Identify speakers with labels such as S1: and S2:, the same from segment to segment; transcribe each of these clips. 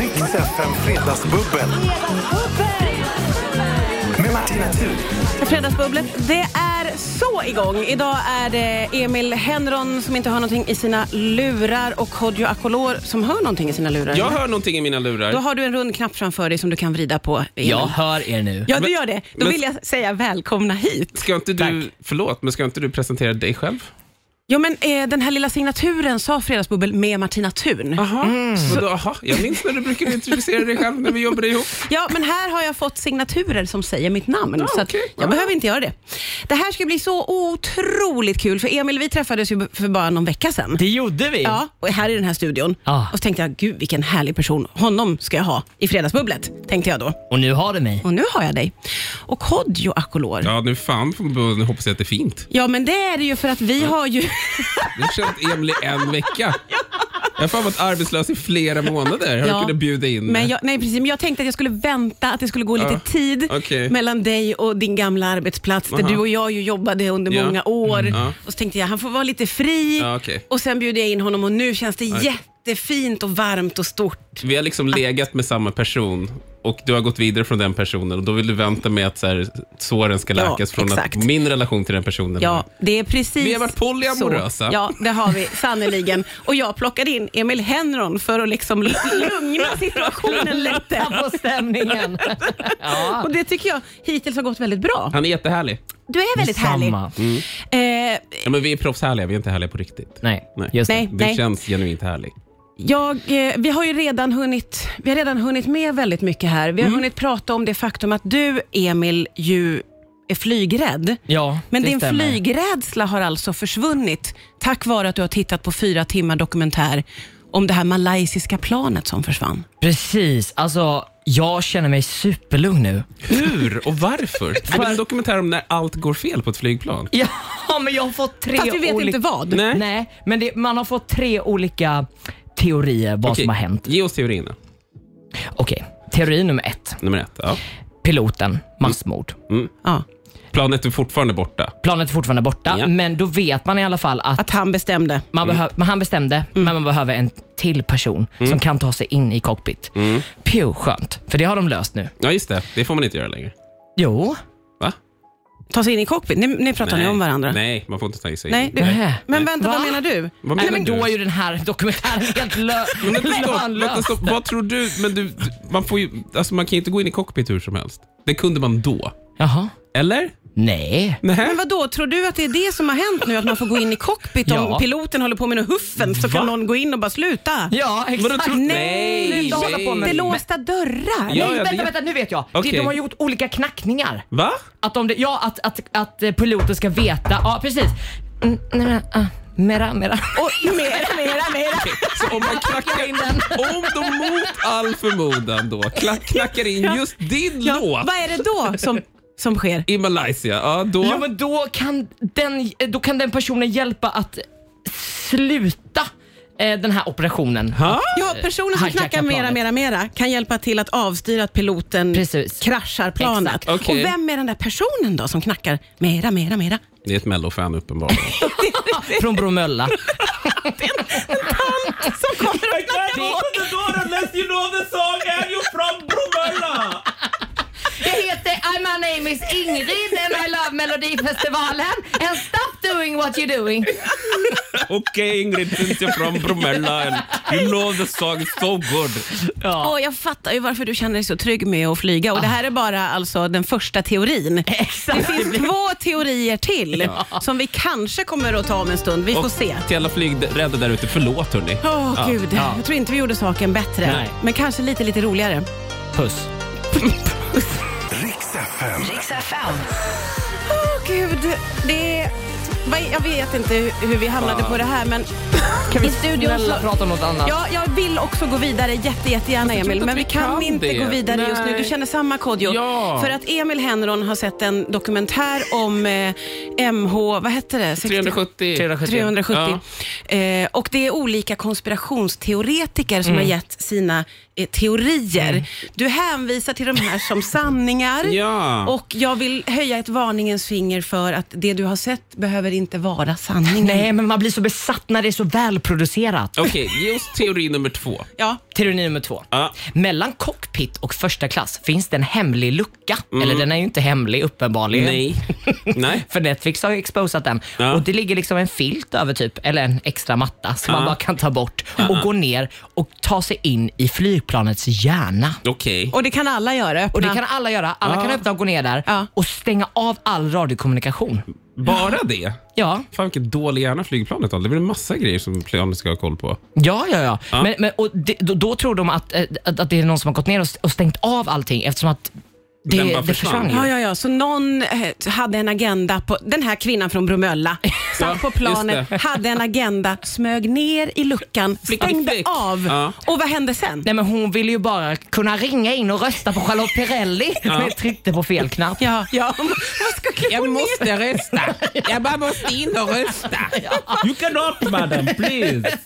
S1: FM Fredagsbubbel med Martina Thun.
S2: Fredagsbubblet, det är så igång. Idag är det Emil Henron som inte hör någonting i sina lurar och Kodjo Akolor som hör någonting i sina lurar.
S3: Jag hör någonting i mina
S2: Då
S3: lurar.
S2: har du en rund knapp framför dig som du kan vrida på, Emil.
S4: Jag hör er nu.
S2: Ja, du
S3: Men-
S2: gör det. Då
S3: men-
S2: vill jag säga välkomna hit.
S3: Ska inte du, förlåt, men ska inte du presentera dig själv?
S2: Ja, men eh, den här lilla signaturen sa Fredagsbubbel med Martina Thun.
S3: Aha.
S2: Mm.
S3: Vadå, Mm. aha. Jag minns när du brukade introducera dig själv när vi jobbade ihop.
S2: Ja, men här har jag fått signaturer som säger mitt namn, så att
S3: okej.
S2: jag
S3: Ja.
S2: behöver inte göra det. Det här ska bli så otroligt kul, för Emil, vi träffades ju för bara någon vecka sedan.
S4: Det gjorde vi.
S2: Ja, och här i den här studion.
S4: Ja.
S2: Och så tänkte jag, gud vilken härlig person. Honom ska jag ha i Fredagsbubblet, tänkte jag då.
S4: Och nu har du mig.
S2: Och nu har jag dig. Och Kodjo Akolor. Ja.
S3: Ja, nu fan får man- nu hoppas jag att det är fint.
S2: men det är det ju för att vi har ju...
S3: Du har känt Emil i en vecka. Jag har fan varit arbetslös i flera månader. Har
S2: Ja.
S3: du kunnat bjuda in
S2: Men jag, nej, precis, men jag tänkte att jag skulle vänta, att det skulle gå lite
S3: Ja,
S2: tid
S3: okej.
S2: mellan dig och din gamla arbetsplats där
S3: Aha.
S2: du och jag ju jobbade under
S3: Ja. Mm,
S2: många år.
S3: Ja.
S2: Och så tänkte jag, han får vara lite fri.
S3: Ja, okej.
S2: Och sen bjuder jag in honom och nu känns det jättefint och varmt och stort.
S3: Vi har liksom legat med samma person och du har gått vidare från den personen och då vill du vänta med att så här, såren ska
S2: Ja,
S3: läkas från
S2: exakt.
S3: att min relation till den personen.
S2: Ja, det är precis
S3: Vi har varit polyamorösa.
S2: så. Ja, det har vi sannerligen. Och jag plockade in Emil Henron för att liksom lugna situationen lite.
S4: Jag får stämningen. ja.
S2: Och det tycker jag hittills har gått väldigt bra.
S3: Han är jättehärlig.
S2: Du är väldigt härlig.
S4: Detsamma.
S3: Mm.
S2: Eh,
S3: Ja, men vi är proffshärliga, vi är inte härliga på riktigt.
S4: Nej,
S3: Nej.
S4: just
S2: Nej.
S4: det.
S3: Du känns genuint härlig.
S2: jag, eh, vi har ju redan hunnit, vi har redan hunnit med väldigt mycket här. Vi har
S4: Mm.
S2: hunnit prata om det faktum att du, Emil, ju är flygrädd.
S4: Ja,
S2: Men
S4: det
S2: din
S4: stämmer.
S2: flygrädsla har alltså försvunnit tack vare att du har tittat på fyra timmar dokumentär om det här malaysiska planet som försvann.
S4: Precis. Alltså, jag känner mig superlugn nu.
S3: Hur och varför? Det är en dokumentär om när allt går fel på ett flygplan.
S4: Ja, men jag har fått tre
S2: Fast vi vet
S4: olika...
S2: inte vad.
S3: Nej.
S4: Nej, men det, man har fått tre olika teorier vad
S3: Okej,
S4: som har hänt.
S3: Ge oss teorierna.
S4: Okej, teori nummer ett.
S3: Nummer ett. Ja.
S4: Piloten, massmord.
S3: Mm.
S2: Ja.
S3: Planet är fortfarande borta.
S4: Planet är fortfarande borta,
S3: Ja.
S4: men då vet man i alla fall att
S2: Att han bestämde.
S4: Man
S3: Mm.
S4: behö- men han bestämde, men man behöver en till person
S3: Mm.
S4: som kan ta sig in i cockpit. Mm. Pew, skönt. För det har de löst nu.
S3: Ja, just det. Det får man inte göra längre.
S4: Jo.
S3: Va?
S2: Ta sig in i cockpit. Nu, nu pratar ni om varandra.
S3: Nej, man får inte ta sig in.
S2: Nej, du,
S4: Nej.
S2: Men vänta,
S4: Va?
S2: vad menar du?
S3: Vad
S4: Nej,
S3: menar
S4: men
S3: du?
S4: då är ju den här dokumentären helt lö-
S3: Men vänta, stopp, vänta,
S4: lönlös.
S3: stopp. Vad tror du? Men du, man, får ju, alltså man kan ju inte gå in i cockpit hur som helst. Det kunde man då.
S4: Jaha.
S3: Eller?
S4: Nej.
S2: Men
S3: Nej.
S2: vad då? tror du att det är det som har hänt nu? Att man får gå in i cockpit om
S4: Ja.
S2: piloten håller på med något huffen så kan
S3: Va?
S2: någon gå in och bara sluta?
S4: Ja,
S3: Vadå,
S4: exakt.
S3: tror-
S2: Nej,
S3: Nej,
S4: sluta hålla på med
S2: Det är
S4: det.
S2: låsta dörrar.
S3: Ja,
S4: Nej,
S3: jag
S4: vänta,
S3: vet.
S4: vänta, nu vet jag.
S3: Okej.
S4: Det, de har gjort olika knackningar.
S3: Va?
S4: Att, om det, ja, att, att, att eh, piloten ska veta. Ja, precis. Mm, nej, men, ah, mera, mera.
S2: Och mera, mera, mera.
S3: Så om man knackar
S4: in den.
S3: Om de mot all förmodan då kla- knackar in just din låt
S2: Vad är det då som, som sker?
S3: i Malaysia, ja då...
S4: Ja, men då kan, den, eh, då kan den personen hjälpa att sluta eh, den här operationen.
S3: Ha?
S2: Ja, personen som
S4: Hajacka
S2: knackar mera,
S4: planet.
S2: mera, mera kan hjälpa till att avstyra att piloten
S4: Precis.
S2: kraschar planet.
S4: Exakt.
S3: Okej.
S2: Och vem är den där personen då som knackar mera, mera, mera?
S3: Det är ett mellofan uppenbarligen.
S4: Från Bromölla.
S2: Som kommer och knackar på.
S4: Jag heter, I- my name is Ingrid and I love Melodifestivalen and stop doing what you're doing.
S3: Okej Ingrid, syns jag från Bromölla. and You know the song is so good.
S2: Åh, jag fattar ju varför du känner dig så trygg med att flyga och det här är bara alltså den första teorin. Det
S4: Exakt.
S2: finns två teorier till som vi kanske kommer att ta om en stund. Vi får
S3: Och
S2: se.
S3: till alla flygrädda där ute, förlåt hörni.
S2: Åh gud,
S4: Ja.
S2: jag tror inte vi gjorde saken bättre.
S4: Nej.
S2: Men kanske lite, lite roligare.
S4: Puss.
S1: Riks FM.
S2: Åh gud, det är... vad- Jag vet inte hur vi hamnade på det här men
S4: Kan
S2: i studion
S4: snälla
S2: så...
S4: prata om något annat?
S2: Ja, jag vill också gå vidare jätte, jättegärna
S3: tror
S2: Emil,
S3: inte
S2: men vi
S3: Alltså, att vi
S2: kan
S3: kan
S2: inte
S3: det.
S2: gå vidare just nu.
S3: Nej.
S2: Du känner samma Kodjo.
S3: Ja.
S2: För att Emil Henron har sett en dokumentär om eh, MH, vad hette det? 60
S3: 370.
S2: 370. Eh, och det är olika konspirationsteoretiker som
S3: Mm.
S2: har gett sina eh, teorier. Du hänvisar till de här som sanningar.
S3: Ja.
S2: Och jag vill höja ett varningens finger för att det du har sett behöver inte vara sanningen.
S4: Nej, men man blir så besatt när det är så välproducerat.
S3: Okej, ge oss teori nummer två.
S2: Ja,
S4: Teori nummer två.
S3: Ja.
S4: Mellan cockpit och första klass finns det en hemlig lucka. Eller den är ju inte hemlig uppenbarligen.
S3: Nej. Nej.
S4: För Netflix har ju exposat den.
S3: Ja.
S4: Och det ligger liksom en filt över typ, eller en extra matta som man
S3: Ja.
S4: bara kan ta bort och gå ner och ta sig in i flygplanets hjärna.
S3: Okej.
S2: och det kan alla göra. Öppna.
S4: Och det kan alla göra. Alla kan öppna och gå ner där
S2: Ja.
S4: och stänga av all radiokommunikation.
S3: Bara det?
S4: Ja,
S3: Fan vilken dålig hjärna flygplanet har. Det blir en massa grejer som planet ska ha koll på.
S4: ja, ja. ja. Men, men, och det, då, då tror de att, eh, att, att det är någon som har gått ner och, st- och stängt av allting eftersom att det,
S3: Den bara
S4: det
S3: försvann.
S4: försvann. ju.
S2: Ja, ja, ja. Så någon eh, hade en agenda. På, den här kvinnan från Bromölla satt på planet,
S3: just det.
S2: hade en agenda, smög ner i luckan,
S3: Flickade
S2: stängde
S3: flick.
S2: av.
S3: Ja.
S2: Och vad hände sen?
S4: Nej, men hon ville ju bara kunna ringa in och rösta på Charlotte Perrelli men tryckte på fel knapp.
S2: Ja, ja. Vad ska jag gå ner?
S3: måste rösta. Jag bara måste in och rösta.
S5: You cannot, madam, please.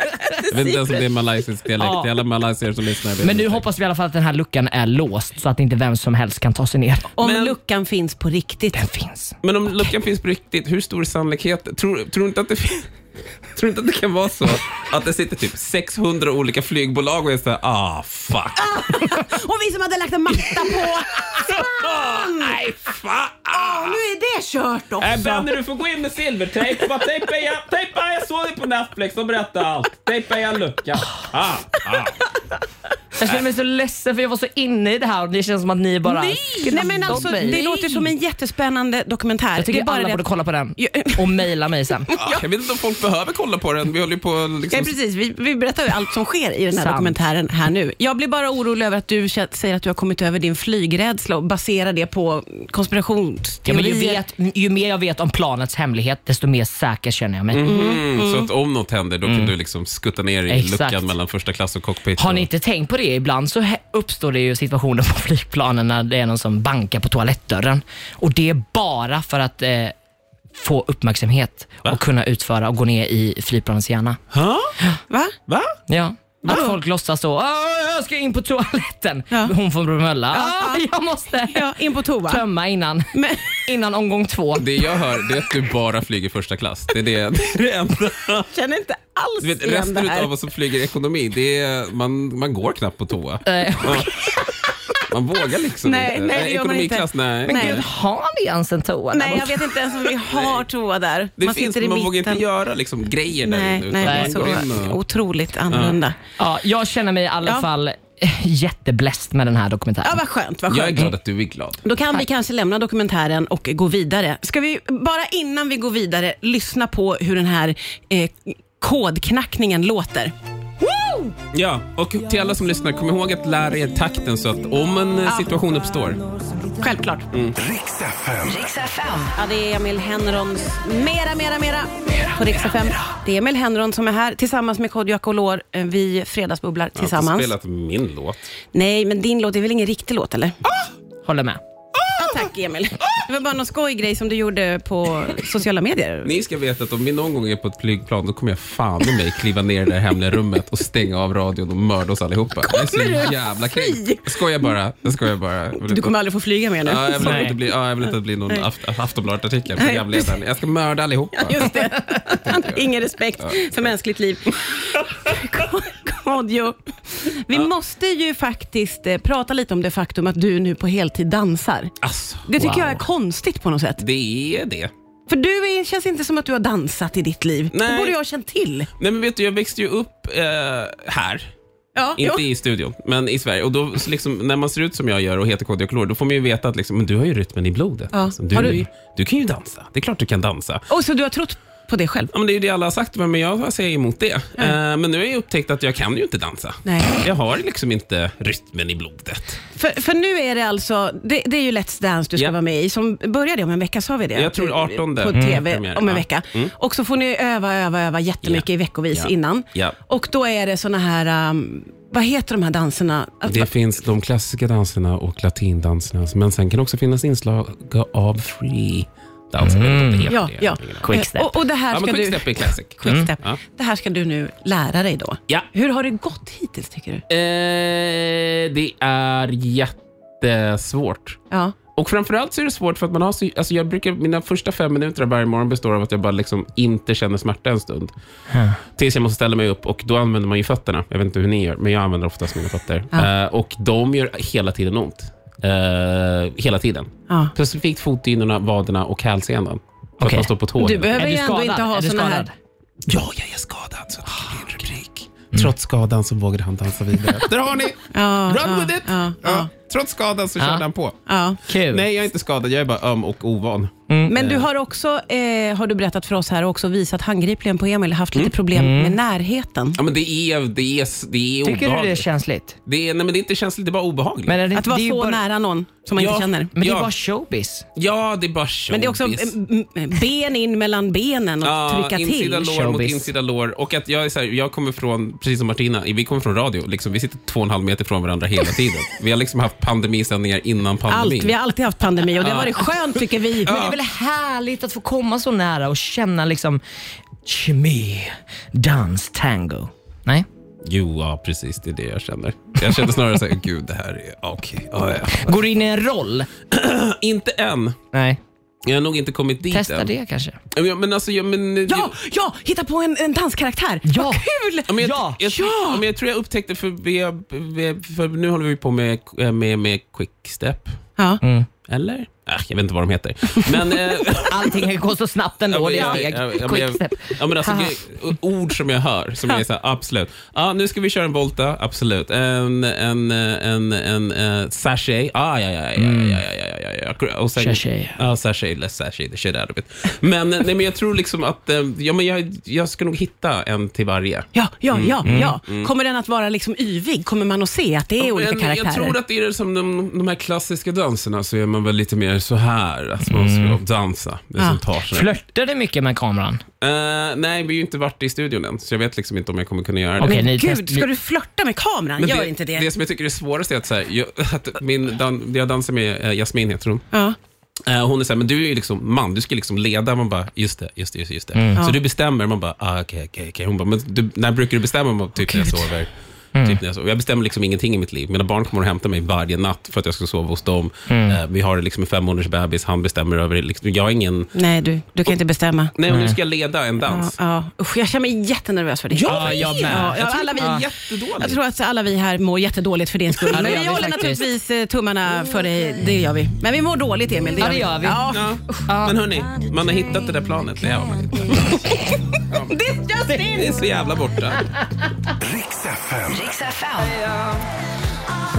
S3: Jag vet inte ens om det är malaysisk dialekt.
S4: Ja.
S3: Det är alla malaysier som lyssnar. vet
S4: Men nu
S3: inte.
S4: hoppas vi i alla fall att den här luckan är låst så att inte vem som helst kan ta sig ner.
S2: Om
S3: Men-
S2: luckan finns på riktigt.
S4: Den finns.
S3: Men om luckan finns på riktigt, hur stor är sannolikheten? Tror, tror, du inte att det, fin- tror du inte att det kan vara så att det sitter typ 600 olika flygbolag och är såhär, ah fuck.
S2: Och vi som hade lagt en matta på.
S3: Nej, fan.
S2: Nu är det kört också.
S3: Alltså-
S5: Äh, Benny, du får gå in med silvertejp. Bara tejpa igen. Tejpa, jag såg dig på Netflix och berättade allt. Tejpa igen luckan. Ah, ah.
S4: Jag känner mig så ledsen för jag var så inne i det här och det känns som att ni bara...
S2: Nej! Nej, men alltså, det
S4: Nej.
S2: låter som en jättespännande dokumentär.
S4: Jag tycker
S2: det är bara
S4: alla
S2: det
S4: borde
S2: att-
S4: kolla på den
S2: Ja.
S4: och mejla mig sen.
S3: Ah, Jag vet inte om folk behöver kolla på den. Vi håller ju på att
S2: Ja,
S3: liksom...
S2: precis. Vi, vi berättar ju allt som sker i den här
S4: Sant.
S2: dokumentären här nu. Jag blir bara orolig över att du kä- säger att du har kommit över din flygrädsla och baserar det på
S4: Ja, men
S2: konspirationsteorier.
S4: ju, vet, ju mer jag vet om planets hemlighet desto mer säker känner jag mig.
S3: Mm, så att om något händer, då kan
S2: Mm.
S3: du liksom skutta ner i
S4: Exakt.
S3: luckan mellan första klass och cockpit.
S4: Har ni
S3: och-
S4: inte tänkt på det? Ibland så he- uppstår det ju situationer på flygplanen när det är någon som bankar på toalettdörren. Och det är bara för att eh, få uppmärksamhet och kunna utföra och gå ner i flygplanets hjärna.
S3: Ha?
S2: Va?
S3: Va?
S4: Ja. Att folk låtsas så. "Ah, Jag ska in på toaletten.
S2: Ja.
S4: Hon från Bromölla. "Ah, Jag måste
S2: Ja, in på toa.
S4: tömma innan,
S2: Men,
S4: innan omgång två.
S3: Det jag hör det är att du bara flyger första klass. Det är det, det, är det enda.
S2: känner inte alls
S3: Du vet,
S2: igen det
S3: resten
S2: här.
S3: av oss som flyger ekonomi, det är, man, man går knappt på toa.
S4: Eh,
S3: Man vågar liksom
S2: Nej,
S3: inte.
S2: nej, det gör man
S3: ekonomiklass,
S2: inte.
S3: nej.
S2: Men
S3: nej.
S2: gud,
S4: Har ni ens en toa? där
S2: Nej, jag
S4: borta?
S2: vet inte ens om vi har toa där.
S3: Det
S2: man
S3: finns,
S2: sitter i
S3: men man
S2: mitten.
S3: vågar inte göra liksom, grejer där
S2: Nej,
S3: inne.
S2: nej,
S3: utan
S2: det är
S3: man går in
S2: så
S3: och-
S2: otroligt annorlunda.
S4: ja, jag känner mig i alla
S2: Ja.
S4: fall eh, jättebläst med den här dokumentären.
S2: Ja, vad skönt. Vad skönt.
S3: Jag är glad att du är glad.
S2: Då kan vi kanske lämna dokumentären och gå vidare. Ska vi bara innan vi går vidare lyssna på hur den här eh, kodknackningen låter?
S3: Ja, och till alla som lyssnar, kom ihåg att lära er takten så att om en eh, situation uppstår.
S2: Självklart.
S1: Mm. Riks FM.
S2: Ja, det är Emil Henrons Mera, Mera, Mera på Rix FM. Det är Emil Henron som är här tillsammans med Kodjo Akolor. Eh, Vi fredagsbubblar
S3: Jag har
S2: tillsammans.
S3: inte spelat min låt.
S2: Nej, men din låt är väl ingen riktig låt eller?
S4: Håller med.
S2: Ja, tack Emil. Det var bara någon skojgrej som du gjorde på sociala medier.
S3: Ni ska veta att om vi någon gång är på ett flygplan, då kommer jag fan i mig kliva ner i det där hemliga rummet och stänga av radion och mörda oss allihopa. Jag är så jävla kränkt. Jag skojar bara. Jag skojar bara. Jag vill
S2: Du
S3: inte-
S2: kommer aldrig få flyga mer nu.
S3: Ja, jag vill
S4: Nej.
S3: inte bli, ja, jag vill inte bli någon aft- Aftonbladet-artikel, programledaren. Jag ska mörda allihopa.
S2: Just det. Ingen respekt för mänskligt liv. Kodjo, vi måste ju faktiskt eh, prata lite om det faktum att du nu på heltid dansar.
S3: Alltså,
S2: Det tycker
S4: Wow.
S2: jag är konstigt på något sätt.
S3: det är det.
S2: För du är, känns inte som att du har dansat i ditt liv. Det
S3: Nej.
S2: borde jag ha känt till.
S3: Nej, men vet du, jag växte ju upp eh, här.
S2: Ja,
S3: Inte
S2: jo.
S3: i studion, men i Sverige. Och då, så liksom, när man ser ut som jag gör och heter KD och Klor, då får man ju veta att liksom, men du har ju rytmen i blodet.
S2: Ja.
S3: Alltså, du,
S2: Har du-
S3: är ju- du kan ju dansa. Det är klart du kan dansa.
S2: Och så du har trott på det själv?
S3: Ja, men det är ju det alla har sagt, men jag säger emot det. Eh, men nu har jag upptäckt att jag kan ju inte dansa.
S2: Nej.
S3: Jag har liksom inte rytmen i blodet.
S2: För, för nu är det alltså, det, det är ju Let's Dance du ska
S3: Ja.
S2: vara med i, som börjar det om en vecka, sa vi det?
S3: Jag tror 18
S2: På
S3: Mm.
S2: TV
S3: premiär,
S2: om en
S3: ja. Mm.
S2: vecka. Och så får ni öva, öva, öva jättemycket
S3: Ja.
S2: i veckovis
S3: Ja.
S2: innan.
S3: Ja.
S2: Och då är det såna här, um, vad heter de här danserna? Att-
S3: Det finns de klassiska danserna och latindanserna, men sen kan det också finnas inslag av free dans.
S2: ja, ja.
S4: Quickstep.
S2: Eh, Och, och det här
S3: Ja,
S2: ska
S3: men
S2: du...
S3: quickstep är classic. Mm.
S2: Quickstep.
S3: Ja.
S2: Det här ska du nu lära dig då.
S3: Ja.
S2: Hur har det gått hittills tycker du?
S3: Eh, det är jättesvårt.
S2: Ja.
S3: Och framförallt så är det svårt för att man har så, alltså jag brukar, mina första fem minuter varje morgon består av att jag bara liksom inte känner smärta en stund. Tills jag måste ställa mig upp och då använder man ju fötterna. Jag vet inte hur ni gör, men jag använder oftast mina fötter. Eh, och de gör hela tiden ont. Eh, hela tiden.
S2: Ja.
S3: Specifikt fotdynorna, vaderna och hälsenan. För att
S4: Okej.
S3: man står på
S2: Du
S3: tå. hela tiden.
S2: behöver
S4: Är
S2: ju
S4: du
S2: ändå
S4: skadad?
S2: inte ha
S4: är du
S2: såna
S4: skadad?
S2: här...
S3: Ja, jag är skadad. Så det är en rubrik. Trots skadan så vågade han dansa vidare. Ah, Mm. Där har ni!
S2: Ja,
S3: Run
S2: ja,
S3: with it!
S2: ja,
S3: Ja. Trots skadan så körde han på.
S2: Ja.
S4: Kul.
S3: Nej, jag är inte skadad. Jag är bara öm och ovan.
S2: Men du
S3: Mm.
S2: har också, eh, har du berättat för oss här, också visat handgripligen på Emil, haft
S3: Mm.
S2: lite problem
S4: Mm.
S2: med närheten.
S3: Ja, men det är, det är, det är
S4: Tycker du det är
S3: obehagligt.
S4: känsligt?
S3: Det är, nej, men det är inte känsligt, det är bara obehagligt.
S4: Men är det,
S2: Att vara
S4: det är ju
S2: så
S4: bara,
S2: nära någon som man
S3: Ja.
S2: inte känner.
S4: Men det
S3: Ja.
S4: är bara showbiz.
S3: ja, det är bara showbiz.
S2: Men det är också eh, m- ben in mellan benen och
S3: Ja,
S2: trycka till.
S3: insida lår mot
S4: showbiz.
S3: insida lår. Och att jag, är så här, jag kommer från, precis som Martina, vi kommer från radio. Liksom, vi sitter två och en halv meter från varandra hela tiden. Vi har liksom haft pandemisändningar innan pandemin.
S2: Allt. Vi har alltid haft pandemi och det har varit skönt tycker vi.
S4: Men det är väl härligt att få komma så nära och känna liksom kemi, dans, tango. Nej?
S3: Jo, ja, precis. Det är det jag känner. Jag känner snarare så här, gud, det här är... Okej. ja, ja.
S4: Går du in i en roll?
S3: Inte än.
S4: Nej.
S3: Jag har nog inte kommit dit
S4: Testa
S3: än.
S4: det kanske.
S3: Ja, men alltså, ja, men,
S2: Ja, ja, hitta på en, en danskaraktär.
S4: Ja.
S2: Vad kul!
S3: Ja, men jag,
S4: Ja,
S3: jag, ja, men jag tror jag upptäckte, för, vi, vi, för nu håller vi på med, eh, med, med quickstep.
S2: Ja.
S4: Mm.
S3: Eller? Äh, jag vet inte vad de heter. Men, eh,
S4: Allting går så snabbt ändå. det är
S3: ja,
S4: steg.
S3: ja, ja, men
S4: Quick
S3: jag-
S4: step.
S3: ja, men alltså,
S4: Haha.
S3: gre- ord som jag hör, som jag är så här, absolut. Ja, nu ska vi köra en volta, absolut. En, en, en, en, eh, sachet, ah, ja, ja, ja, ja, ja, ja, ja, ja, ja. Och sen,
S4: Mm. Sachet.
S3: Ja, sachet, eller sachet, the shit out of it. Men, eh, nej, men jag tror liksom att, eh, ja, men jag, jag ska nog hitta en till varje.
S2: Ja, ja,
S4: Mm.
S2: ja, ja. Kommer den att vara liksom yvig? Kommer man att se att det är olika
S3: Men
S2: karaktärer?
S3: Jag tror att det är som de, de här klassiska danserna så är man väl lite mer så här. Att man ska
S4: Mm.
S3: dansa. Det
S4: Ah.
S3: som tar sig.
S4: Flörtar du mycket med kameran?
S3: Eh, nej, vi har ju inte varit i studion än, så jag vet liksom inte om jag kommer kunna göra det.
S4: Okej,
S2: Men
S4: ni
S2: gud,
S4: test-
S2: ska du flörta med kameran?
S3: Men
S2: Gör inte det.
S3: Det som jag tycker är svårast är att, så här, jag, att min dan, jag dansar med eh, Jasmin, heter hon.
S2: Ja.
S3: Eh, hon är så här, men du är ju liksom man, du ska liksom leda. Man bara, just det, just det, just det. Just det. Så du bestämmer, man bara, ah, okej, okej, okej. Hon bara, men du, när brukar du bestämma? Man bara, typ när jag sover. Typ när jag, sover. jag bestämmer liksom ingenting i mitt liv. Mina barn kommer och hämtar mig varje natt för att jag ska sova hos dem. Eh, vi har liksom en fem månaders bebis, han bestämmer över det. Liksom, jag har ingen...
S2: Nej, du, du kan inte bestämma.
S3: Nej, och nu ska jag leda en
S2: Ja,
S3: dans.
S2: ja. Usch, jag känner mig jättenervös för det.
S4: Ja, jag med.
S2: Ja,
S4: Jag
S2: alla vi,
S4: Ja.
S3: Jättedåligt.
S2: jag tror att alla vi här mår jättedåligt för din skull.
S4: Ja, det
S2: Men
S4: gör
S2: vi
S4: vi
S2: håller
S4: faktiskt.
S2: naturligtvis eh, tummarna för dig. Det gör vi. Men vi mår dåligt, Emil. Det
S4: Ja,
S2: gör
S4: det gör vi.
S2: Ja.
S3: Ja. Men hörni, man har hittat det där planet. Nej, ja, man har hittat det. Det är så jävla borta.
S1: Riks FM.
S6: Riks FM.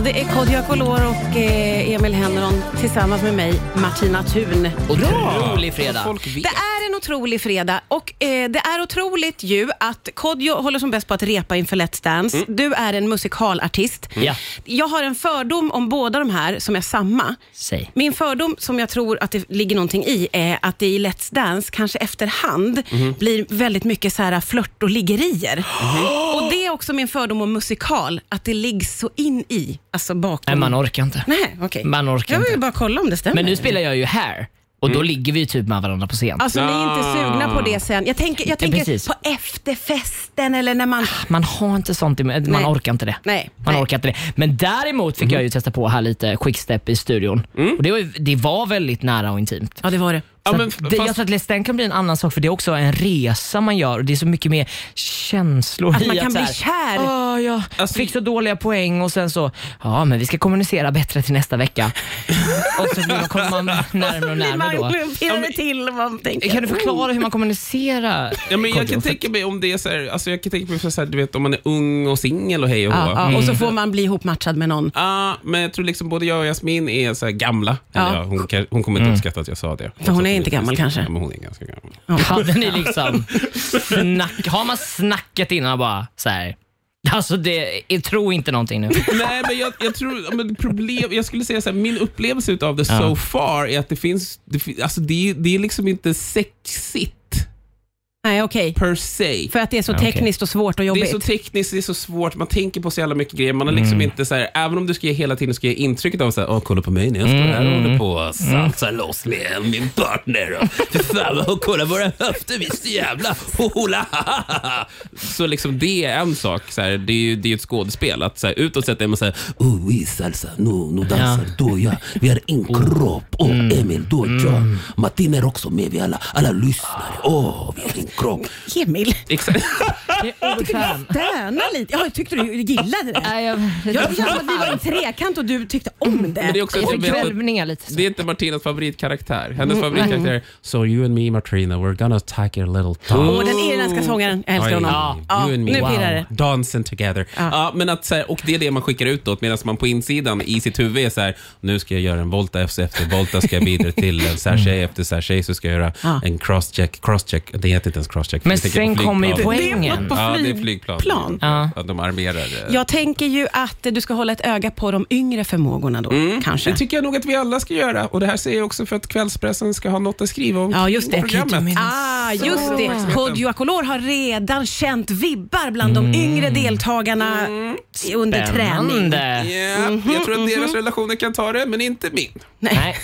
S2: Det är Kodjo Akolor och eh, Emil Henron tillsammans med mig, Martina Thun.
S4: Otrolig fredag.
S3: Folk vet.
S2: Det är en otrolig fredag och eh, det är otroligt ju att Kodjo håller som bäst på att repa inför Let's Dance. Du är en musikalartist.
S4: Mm. Ja.
S2: Jag har en fördom om båda de här som är samma.
S4: Säg.
S2: Min fördom som jag tror att det ligger någonting i är att det i Let's Dance kanske efterhand
S4: Mhm.
S2: blir väldigt mycket så här flört och liggerier. Och det är också min fördom om musikal, att det liggs så in i, alltså bakom.
S4: Nej, man orkar inte.
S2: Nej, okej.
S4: Man orkar
S2: Jag vill ju
S4: inte.
S2: bara kolla om det stämmer.
S4: Men nu spelar jag ju här och
S3: Mm.
S4: då ligger vi ju typ med varandra på scen.
S2: Alltså ni är inte
S3: Ah.
S2: sugna på det sen. Jag tänker, jag
S4: precis. Ah,
S2: tänker på efterfesten eller när man...
S4: Man har inte sånt, i- man
S2: Nej.
S4: orkar inte det.
S2: Nej.
S4: Man
S2: Nej.
S4: orkar inte det. Men däremot fick
S3: Mm.
S4: jag ju testa på här lite quickstep i studion. Och det, var, det var väldigt nära och intimt.
S2: Ja, det var det.
S3: Ja,
S4: Så
S3: men
S4: att
S3: f-
S4: det, Jag
S3: fast-
S4: tror att Let's Dance kan bli en annan sak för det är också en resa man gör och det är så mycket mer känslor
S2: Att
S4: i
S2: man kan
S4: så
S2: bli
S4: här,
S2: kär.
S4: "Åh, jag
S3: Alltså-
S4: fick så dåliga poäng och sen så, ja men vi ska kommunicera bättre till nästa vecka. och så blir- kommer man
S3: Alltså,
S4: närmare och närmare då.
S2: pirrar det till och man tänker...
S4: Kan du förklara hur man kommunicerar?
S3: Ja, men jag
S4: Kodjo?
S3: kan tänka mig om det är så här, alltså jag kan tänka mig för så här, du vet om man är ung och singel och hej och hå. Mm.
S2: Ja, ja, och så får man bli ihopmatchad med någon.
S3: Ah, men jag tror liksom både jag och Jasmin är så här gamla. Eller
S2: Ja.
S3: ja, hon, kan, hon kommer inte uppskatta att jag sa det.
S2: För hon är inte gammal, kanske.
S3: Ja, men hon är ganska gammal.
S4: Hade ni liksom snack, har man snacket innan och bara så här. Alltså det, jag tror inte någonting nu.
S3: Nej, men jag, jag tror, ja, men problem, jag skulle säga så här, min upplevelse av det so far är att det finns, det, fin- alltså det, är- det är liksom inte sexigt.
S2: Nej, okej.
S3: per se.
S2: För att det är så
S4: okej.
S2: tekniskt och svårt och
S3: Det är
S2: jobbigt.
S3: så tekniskt, det är så svårt, man tänker på så jävla mycket grejer. Man är liksom inte så här, även om du ska ge hela tiden ska ge intrycket av så här, åh kolla på mig när jag står här och håller på och sansar loss med min partner. Och, fy fan, och kolla våra höfter, visst jävla hola. Så liksom det är en sak, så här, det är ju det är ett skådespel. Att, så här, utåt sett är man så här, oh vi salsa, nu, nu dansar du och jag. Vi är en kropp, och Emil, du och jag. Martin är också med, vi alla, alla lyssnare. Åh, vi är en kropp.
S2: Emil,
S3: Exakt.
S4: Det är obekväm.
S2: stöna lite. Ja, jag tyckte du gillade det.
S4: Nej, jag,
S2: Jag kände att vi var en trekant och du tyckte om det.
S3: Men det är också
S4: jag
S3: att jag
S4: fick
S3: vet att-
S4: kvälvningar lite.
S3: Det är inte Martinas favoritkaraktär. Hennes favoritkaraktär är “So you and me Martina, we're gonna take your little tongue”.
S2: Och den irländska sångaren, jag älskar
S3: Oj,
S2: honom. Ja,
S3: you and me,
S2: nu pirrar det.
S3: Dancing together. Ja, men att, så här, och det är det man skickar utåt medan man på insidan i sitt huvud är så här, nu ska jag göra en volta efter, efter volta ska jag bidra till en så här tjej efter så här tjej så ska jag göra
S2: Mm. Ja.
S3: en crosscheck, crosscheck. Det heter inte ens crosscheck. för
S4: Men
S3: jag tänker på
S4: sen
S3: flygplan.
S4: kommer ju
S2: Det
S4: poängen.
S2: var på
S3: Ja, det är flygplan.
S2: flygplan.
S4: Ja.
S3: Att de armerar. eh,
S2: Jag tänker ju att eh, du ska hålla ett öga på de yngre förmågorna då, kanske.
S3: Det tycker Mm. jag nog att vi alla ska göra. Och Det här säger jag också för att kvällspressen ska ha något att skriva om
S2: Ja, just det.
S3: programmet.
S2: Ah, just det. Kodjo Akolor har redan känt vibbar bland
S3: Mm.
S2: de yngre deltagarna i- under träning.
S4: Spännande.
S3: Ja, Jag tror
S2: Mhm,
S3: att deras relationer kan ta det, men inte min.
S4: Nej.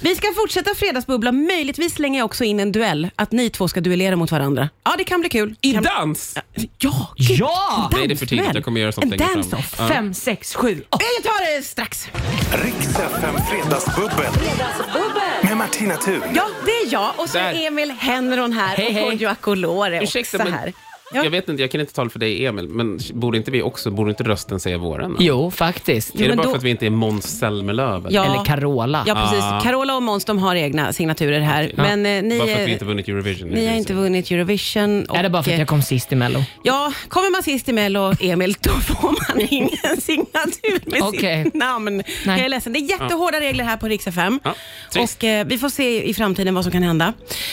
S2: Vi ska fortsätta Fredagsbubbla. Möjligtvis slänger jag också in en duell, att ni två ska duellera mot varandra. Ja, det kan bli kul.
S3: I
S2: Kan-
S3: dans!
S2: Ja! gud.
S4: Ja!
S3: Nej, det är för tidigt. Jag kommer göra sånt
S2: En
S3: längre fram.
S2: dance-off.
S4: Fem, sex, sju, åtta.
S2: Jag tar det strax.
S1: Riks FM Fredagsbubbel. Med Martina Thun.
S2: Ja, det är jag och så är
S3: Där.
S2: Emil Henron här
S4: Hej, hej.
S2: och Kodjo Akolor är också
S3: Ursäkta, men-
S2: här. Ja.
S3: Jag vet inte, jag kan inte tala för dig Emil, men borde inte vi också, borde inte rösten säga våren?
S4: Jo, faktiskt.
S3: är det
S2: men
S3: bara
S2: då-
S3: för att vi inte är Måns Zelmerlöw? eller? Ah.
S2: Ja.
S4: Eller Carola.
S2: Ja, precis. Carola och Måns de har egna signaturer här. Men eh, ni,
S3: Bara för att vi
S2: eh,
S3: inte vunnit Eurovision.
S2: ni har inte vunnit Eurovision. Och, eh,
S4: Är det bara för att jag kom sist i Mello?
S2: Ja, kommer man sist i Mello, Emil, då får man ingen signatur med
S4: Okej.
S2: sitt namn. Jag är ledsen. Det är jättehårda regler här på Rix FM.
S3: Ja, trist.
S2: och eh, vi får se i framtiden vad som kan hända.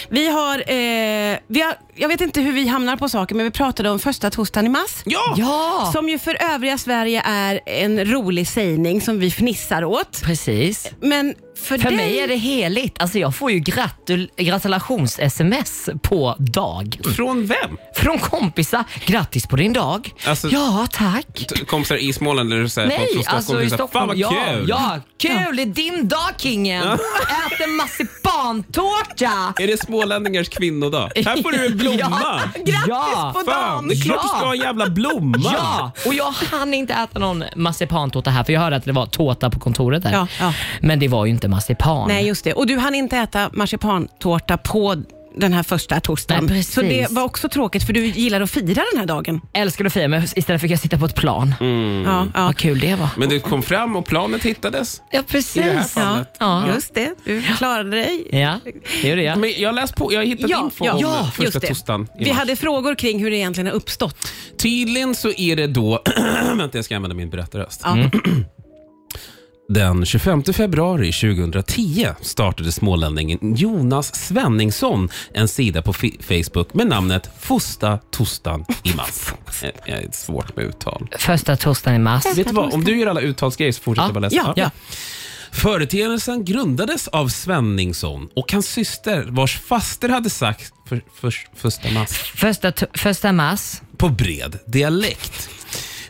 S2: Vi har, eh, vi har, jag vet inte hur vi hamnar på saker, men vi pratade om första torsdagen i mars.
S3: Ja!
S4: Ja!
S2: Som ju för övriga Sverige är en rolig sägning som vi fnissar åt.
S4: Precis.
S2: Men för,
S4: För
S2: dig...
S4: mig är det heligt. Alltså jag får ju gratul- gratulations-sms på dag.
S3: Från vem?
S4: Från kompisar. Grattis på din dag.
S3: Alltså-
S4: ja, tack.
S3: T- Kompisar i Småland eller så här,
S4: Nej,
S3: folk från Stockholm?
S4: alltså i
S3: så här,
S4: Stockholm.
S3: Fan vad
S4: ja,
S3: kul!
S4: ja, kul. Det är din dag kingen. Ät en marsipantårta.
S3: Är det smålänningars kvinnodag? Här får du en blomma!
S2: Grattis
S4: Ja.
S2: på
S3: Fan, det
S2: dagen!
S3: är klart du ska ha en jävla blomma!
S4: Ja, och jag hann inte äta någon marsipantårta här för jag hörde att det var tårta på kontoret där.
S2: Ja, ja.
S4: Men det var ju inte marsipan.
S2: Nej, just det. Och du hann inte äta marsipantårta på den här första torsdagen.
S4: Nej, precis.
S2: så det var också tråkigt för du gillar att fira den här dagen.
S4: Älskar att fira men istället fick jag sitta på ett plan.
S3: Mm.
S2: Ja, ja.
S4: Vad kul det var.
S3: Men du kom fram och planet hittades.
S4: Ja,
S3: I det här
S4: precis.
S3: fallet.
S4: Ja.
S2: Just det, du klarade dig.
S4: Ja, det gjorde jag.
S3: Men jag har läst på, jag har hittat info om
S2: ja,
S3: första
S2: just det.
S3: torsdagen i
S2: Vi
S3: mars.
S2: hade frågor kring hur det egentligen har uppstått.
S3: Tydligen så är det då, vänta jag ska använda min berättarröst. Den 25 februari 2010 startade smålänningen Jonas Svenningsson en sida på fi- Facebook med namnet Fosta Tostan i mars. Eh, eh, Ett svårt med uttal.
S4: Första torsdagen i mars.
S3: Vet du vad, om du gör alla uttalsgrejer så fortsätter
S4: Ja,
S3: jag bara läsa.
S2: ja, ja.
S3: Företeelsen grundades av Svenningsson och hans syster vars faster hade sagt för, för, första mars
S4: Första, to- första mars.
S3: på bred dialekt.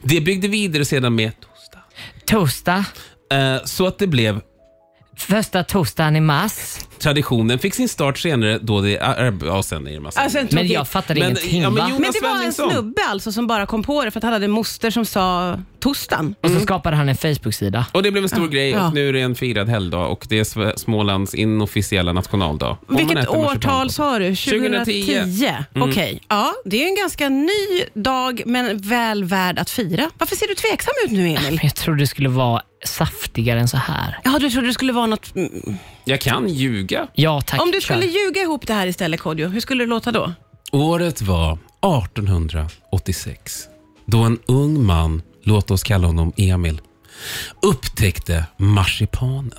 S3: Det byggde vidare sedan med tosta.
S4: Torsdag.
S3: Eh, Så att det blev
S4: Första torsdagen i mars.
S3: Traditionen fick sin start senare då det... ah, Ja, sen är det massa...
S2: Alltså, en
S4: Men
S2: tråkig-
S4: jag fattade
S3: Men-
S4: ingenting
S3: ja, men
S4: va?
S3: jo-
S2: Men det var en
S3: Svenningsson.
S2: snubbe alltså som bara kom på det för att han hade en moster som sa tostan.
S4: Och så skapade han en Facebook-sida.
S3: och det blev en stor grej
S2: Ja.
S3: och nu är det en firad helgdag och det är Sve- Smålands inofficiella nationaldag. Om man
S2: Vilket
S3: äter marsipan Mm. på-
S2: årtal sa du?
S3: 2010.
S2: 2010? Okej. Ja, det är en ganska ny dag men väl värd att fira. Varför ser du tveksam ut nu Emil?
S4: Jag trodde det skulle vara saftigare än så här.
S2: Ja, du trodde det skulle vara något... mm.
S3: Jag kan ljuga.
S4: Ja tack.
S2: Om du
S4: kör.
S2: skulle ljuga ihop det här istället, Kodjo, hur skulle det låta då?
S3: Året var 1886 då en ung man, låt oss kalla honom Emil, upptäckte marsipanen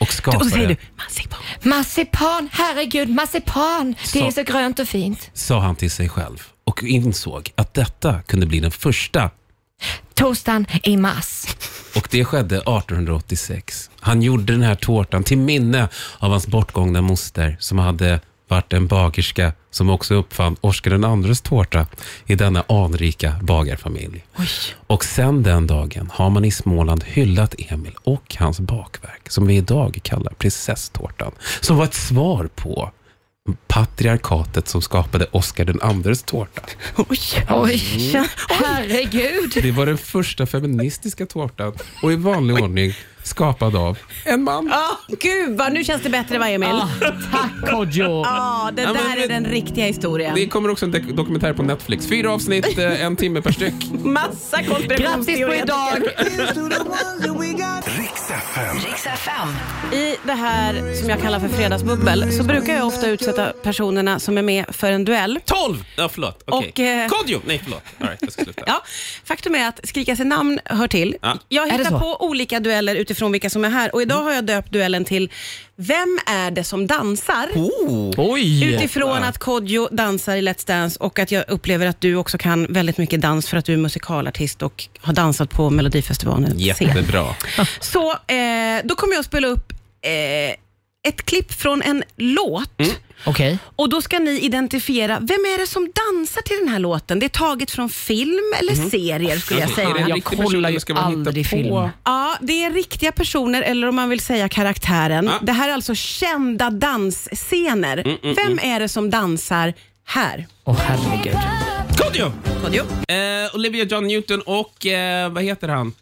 S3: och
S2: Och så säger
S3: skapade,
S2: du, man ser på.
S6: Marsipan, herregud, marsipan!
S3: Så-
S6: Det är så grönt och fint.
S3: sa han till sig själv och insåg att detta kunde bli den första
S6: Torsdagen i mars.
S3: Och det skedde 1886. Han gjorde den här tårtan till minne av hans bortgångna moster som hade vart en bagerska som också uppfann Oskar den andres tårta i denna anrika bagarfamilj. Och sen den dagen har man i Småland hyllat Emil och hans bakverk som vi idag kallar prinsesstårtan. Som var ett svar på patriarkatet som skapade Oskar den andres tårta.
S6: Oj, herregud.
S3: Det var den första feministiska tårtan och i vanlig ordning skapad av en man.
S2: Oh, gud, vad, nu känns det bättre va Emil? Ja,
S4: Tack Kodjo!
S2: det
S3: Ah. Ja, men
S2: där
S3: vi-
S2: är den riktiga historien.
S3: Det kommer också en dek- dokumentär på Netflix. Fyra avsnitt, eh, en timme per styck.
S2: Massa
S4: Grattis på
S2: konspirationsteoretiker.
S4: idag!
S1: Riks FM.
S2: I det här som jag kallar för fredagsbubbel så brukar jag ofta utsätta personerna som är med för en duell.
S3: Tolv! Ja, förlåt. Okej.
S2: Och, eh,
S3: Kodjo! Nej, förlåt. All right, jag ska sluta.
S2: Ja, faktum är att skrika sig namn hör till.
S3: Ja. Mm.
S2: Jag
S4: det
S2: hittar
S4: så?
S2: på olika dueller utifrån vilka som är här och idag har jag döpt duellen till Vem är det som dansar?
S3: Oh.
S4: Oj!
S2: Utifrån att Kodjo dansar i Let's Dance och att jag upplever att du också kan väldigt mycket dans för att du är musikalartist och har dansat på Melodifestivalen. scen.
S3: Jättebra.
S2: Så eh, då kommer jag att spela upp eh, ett klipp från en låt
S3: Mm.
S4: Okej.
S2: och då ska ni identifiera, vem är det som dansar till den här låten? Det är taget från film eller serier skulle jag
S3: Mm. Okej, är det
S2: säga.
S3: en
S4: Jag
S3: riktig
S4: kollar
S3: person
S4: ju
S3: eller ska man hitta
S4: aldrig
S3: på?
S4: film.
S2: Ja, det är riktiga personer eller om man vill säga karaktären.
S3: Ja. Mm,
S2: Det här är alltså kända dansscener. vem är det som dansar här?
S4: Åh herregud.
S3: Kodjo!
S2: Kodjo?
S3: Eh, Olivia John Newton och eh, vad heter han?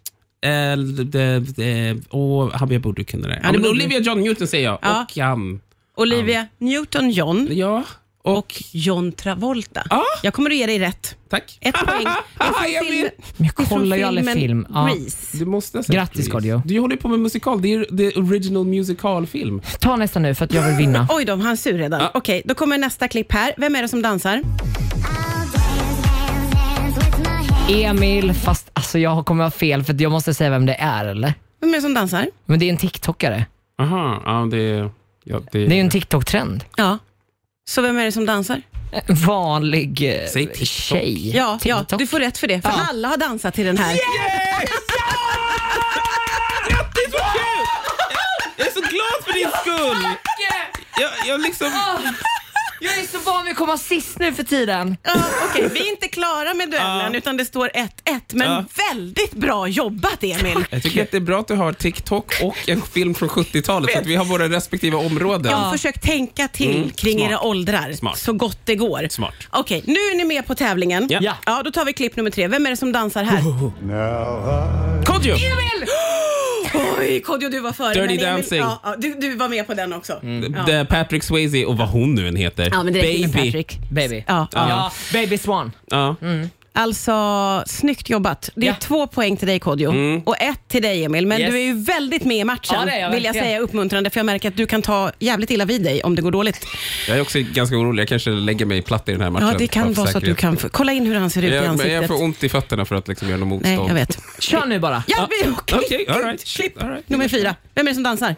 S3: Eh, de, de, och Habia borde kunna det. Ja,
S2: det
S3: men
S2: borde-
S3: Olivia John Newton säger jag.
S2: Ja.
S3: Och han.
S2: Olivia Newton-John
S3: Ja. Och,
S2: och John Travolta.
S3: Ja.
S2: Jag kommer att ge dig rätt.
S3: tack.
S2: Ett poäng. Det är från
S3: Jag
S2: film-
S3: vet.
S4: Men jag
S2: det är från
S4: kollar ju aldrig
S2: filmen
S4: film. Ja.
S2: Grease.
S3: Du måste ha sett
S4: Grattis,
S3: Grease.
S4: Kodjo.
S3: Du håller ju på med musikal. Det är ju the original musical-film.
S4: Ta nästa nu för att jag vill vinna.
S2: Oj då, han är sur redan. Okej, då kommer nästa klipp här. Vem är det som dansar?
S4: Emil, fast alltså jag kommer ha fel för att jag måste säga vem det är eller?
S2: Vem är det som dansar?
S4: Men det är en TikTokare.
S3: Aha, ja det är... Ja, det,
S4: Det är ju en TikTok-trend.
S2: Ja. Så vem är det som dansar?
S4: En Vanlig eh,
S3: Säg TikTok.
S4: tjej.
S2: Ja, ja
S4: TikTok.
S2: du får rätt för det. För alla har dansat till den här.
S3: Grattis, vad kul! Jag är så glad för din skull! Jag, jag liksom...
S4: Jag är så van vid att komma sist nu för tiden.
S2: Ja, Okej, vi är inte klara med duellen utan det står 1-1. Men
S3: Ja.
S2: väldigt bra jobbat Emil.
S3: Jag tycker att det är bra att du har TikTok och en film från 70-talet, så att vi har våra respektive områden.
S2: Jag har försökt tänka till kring
S3: Mm, smart.
S2: era åldrar
S3: Smart.
S2: så gott det går.
S3: Smart.
S2: Okej, nu är ni med på tävlingen.
S3: Ja. Oh.
S4: Ja.
S2: Ja, då tar vi klipp nummer tre. Vem är det som dansar här?
S3: Kodjo!
S2: Oj, Kodjo du var före.
S3: Dirty
S2: men Emil-
S3: Dancing. Mm.
S2: Ja, ja, du, du var med på den också.
S3: The Patrick Swayze och vad hon nu än heter.
S2: Ja, men det räcker med
S3: Baby.
S2: Patrick. Mm.
S4: Baby.
S2: Ja, ja.
S4: Ja, Baby Swan.
S3: Ja.
S2: Alltså, snyggt jobbat. Det är
S4: Ja.
S2: två poäng till dig Kodjo
S3: Mm.
S2: och ett till dig Emil. Men
S4: Yes.
S2: du är ju väldigt med i matchen
S4: Ja, det är jag
S2: vill jag
S4: verkligen.
S2: säga uppmuntrande för jag märker att du kan ta jävligt illa vid dig om det går dåligt.
S3: Jag är också ganska orolig. Jag kanske lägger mig platt i den här matchen.
S2: Ja, det kan
S3: bara för
S2: vara så att du
S3: säkerhet.
S2: kan... få- Kolla in hur han ser ut i
S3: Jag, men
S2: ansiktet.
S3: jag får ont i fötterna för att liksom göra något
S2: Nej,
S3: motstånd.
S2: jag vet.
S4: Kör nu bara.
S2: Ja, vi, okej.
S3: Okej, all right. Shit, all right.
S2: Nummer fyra. Vem är det som dansar?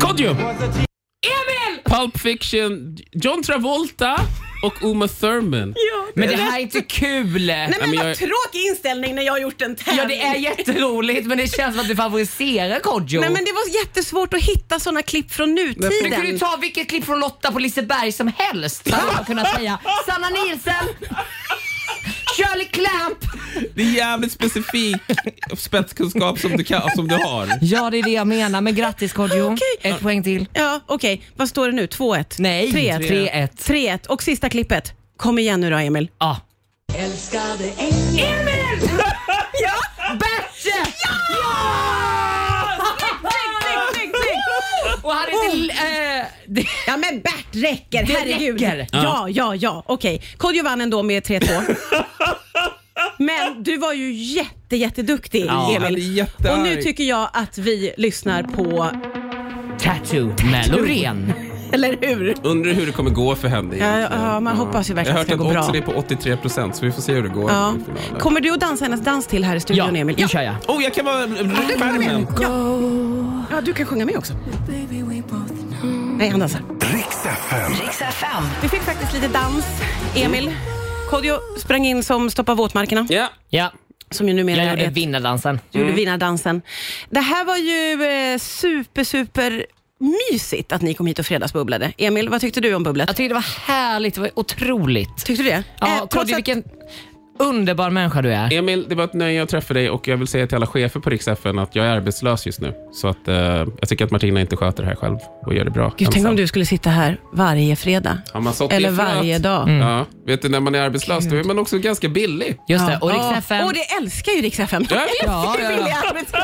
S3: Kodjo! Emil! Pulp Fiction, John Travolta och Uma Thurman.
S4: Men det här är inte kul.
S2: Nej men,
S3: men
S2: vad
S3: jag-
S2: tråkig inställning när jag har gjort en tävling.
S4: Ja, det är jätteroligt men det känns som att du favoriserar Kodjo.
S2: Nej men det var jättesvårt att hitta sådana klipp från nutiden.
S4: Du kunde ju ta vilket klipp från Lotta på Liseberg som helst. Så hade jag kunnat säga Sanna Nielsen, Shirley Clamp.
S3: Det är jävligt specifik spetskunskap som du, kan, som du har.
S4: Ja, det är det jag menar. Men grattis Kodjo. Ett poäng till.
S2: Ja, okej. Vad står det nu? 2-1?
S4: Nej,
S2: 3-1.
S4: 3-1.
S2: 3-1. Och sista klippet. Kom igen nu då, Emil.
S4: Ja.
S2: Snyggt, snyggt, snyggt!
S4: Och hade inte...
S6: Oh.
S4: eh, det,
S2: Ja men Bert räcker,
S4: Det
S2: herregud.
S4: räcker.
S2: Ja, ja, ja. Okej. Kodjo vann ändå med 3-2. Men du var ju jätte, jätteduktig
S4: Ja,
S3: han är
S2: Emil.
S3: jättearg.
S2: Och nu tycker jag att vi lyssnar på,
S4: tattoo med Loreen.
S2: eller hur?
S3: Undrar hur det kommer gå för henne.
S2: Ja, ja,
S3: egentligen.
S2: ja, man hoppas ju
S3: Jag har
S2: verkligen att
S3: hört
S2: det
S3: att
S2: ska gå bra.
S3: oddsen är på 83 procent, så vi får se hur det går
S2: Ja.
S3: i finalen.
S2: Kommer du att dansa hennes dans till här i
S4: Ja,
S2: studion Emil?
S4: nu kör jag.
S3: Oh, jag kan vara skärmen.
S2: Ja, du kan sjunga med också. Nej, han dansar.
S1: Riks FM.
S2: Vi fick faktiskt lite dans, Emil. Kodjo sprang in som stoppar våtmarkerna,
S3: Mm. Ja.
S4: Ja,
S2: som ju numera
S4: jag
S2: är
S4: gjorde
S2: ett
S4: vinnardansen.
S2: gjorde vinnardansen. Det här var ju eh, super, super mysigt att ni kom hit och fredagsbubblade. Emil, vad tyckte du om bubblet?
S4: Jag tyckte det var härligt, det var otroligt.
S2: Tyckte du det? Eh,
S4: Ja,
S2: trots
S4: Kodjo,
S2: att-
S4: vilken underbar människa du är.
S3: Emil, det var ett nöje att träffa dig och jag vill säga till alla chefer på Rix FN att jag är arbetslös just nu. Så att, eh, jag tycker att Martina inte sköter det här själv och gör det bra.
S2: Gud, tänk
S3: ensam.
S2: om
S4: Alltså.
S2: du skulle sitta här varje fredag.
S3: Ja, man sått det
S2: Eller
S3: i fröet.
S2: varje dag.
S3: Ja, vet du, när man är arbetslös då är man också ganska billig.
S4: Just det, och Rix
S2: Ja.
S4: FM.
S2: Och det älskar ju Rix FM.
S3: Jag vet.
S4: Ja, ja, ja.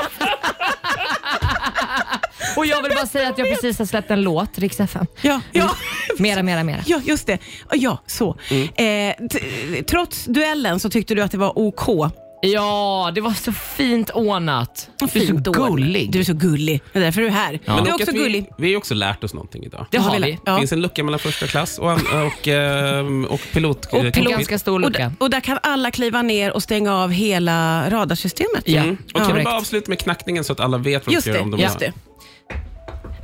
S4: Och jag vill bara säga att jag precis har släppt en låt, Rix FM.
S2: Ja, ja.
S4: Mera, mera, mera.
S2: Ja, just det. Ja, så.
S4: Mm.
S2: Eh, t- trots duellen så tyckte du att det var OK.
S4: Ja, det var så fint ordnat. Du är så
S2: Fint ord.
S4: gullig.
S2: Du är så gullig. Det är därför du är här.
S3: Men
S2: Du är
S3: och
S2: också
S3: att vi,
S2: gullig.
S3: Vi har ju också lärt oss någonting idag.
S4: det har
S2: Ja.
S4: vi.
S3: Det
S2: Ja.
S3: finns en lucka mellan första klass och, an- och, ehm, och pilot...
S4: Och pilot. Ganska stor
S2: Och, Mm. där-
S4: lucka.
S2: och där kan alla kliva ner och stänga av hela radarsystemet.
S4: Ja,
S3: Och kan vi
S4: korrekt.
S3: bara avsluta med knackningen så att alla vet vad de
S2: Just
S3: ska göra
S2: det.
S3: om de
S2: Just
S3: har-
S2: det.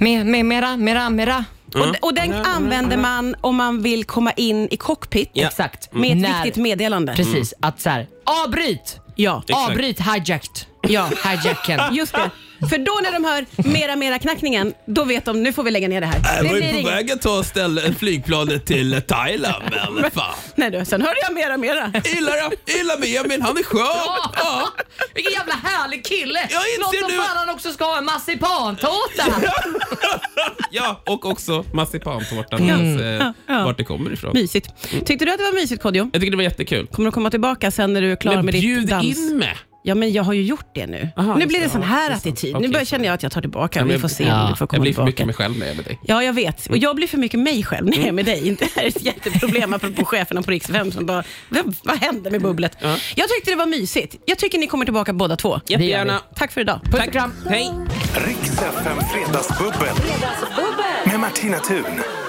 S4: Me, me, mera, mera, mera.
S2: Och, och den använder man om man vill komma in i cockpit
S4: Exakt.
S2: med ett
S4: När-
S2: viktigt meddelande.
S4: Precis,
S7: Mm.
S4: att så här, avbryt!
S2: Ja.
S3: Exakt.
S4: Avbryt hijacked. Ja, hijacken.
S2: Just det. För då när de hör mera mera knackningen, då vet de nu får vi lägga ner det här. Det
S7: Jag var
S2: blir
S7: ju på
S2: inget.
S7: väg att ta ställ- flygplanet till Thailand, men fan.
S2: Nej du, sen hörde jag mera mera.
S7: Illa då, illa med Emil, han är skön.
S4: Ja. Vilken jävla härlig kille!
S7: Jag inser
S4: Låt som
S7: nu-
S4: fan han också ska ha en marsipantårta!
S3: Ja, och också marsipantårtan.
S2: Mm.
S3: Mm. Eh,
S2: Ja.
S3: Vart det kommer ifrån.
S2: Mysigt. Tyckte du att det var mysigt Kodjo?
S3: Jag tycker det var jättekul.
S2: Kommer du komma tillbaka sen när du är klar
S3: Men
S2: med ditt
S3: bjud
S2: dans?
S3: in mig.
S2: Ja, men jag har ju gjort det nu.
S3: Aha,
S2: nu
S3: just
S2: blir
S3: det.
S2: det sån
S3: Ja,
S2: här
S3: det är sant.
S2: attityd.
S3: Okej,
S2: nu börjar
S3: så.
S2: känna jag att jag tar tillbaka.
S3: Ja, men
S2: vi får se
S4: ja,
S2: om du får
S3: Jag
S2: komma
S3: blir för mycket
S2: tillbaka.
S3: mig själv när jag är med dig.
S2: Ja, jag vet. Och jag blir för mycket mig själv när jag är med dig.
S4: Mm.
S2: Inte det här är ett jätteproblem apropå cheferna på Rix FM som bara, "Vad- vad hände med bubblet? Jag tyckte det var mysigt. Jag tycker ni kommer tillbaka båda två.
S4: Det gör vi.
S2: Tack för idag.
S4: Puss och kram.
S1: Riks FM Fredagsbubbel. Med Martina Thun.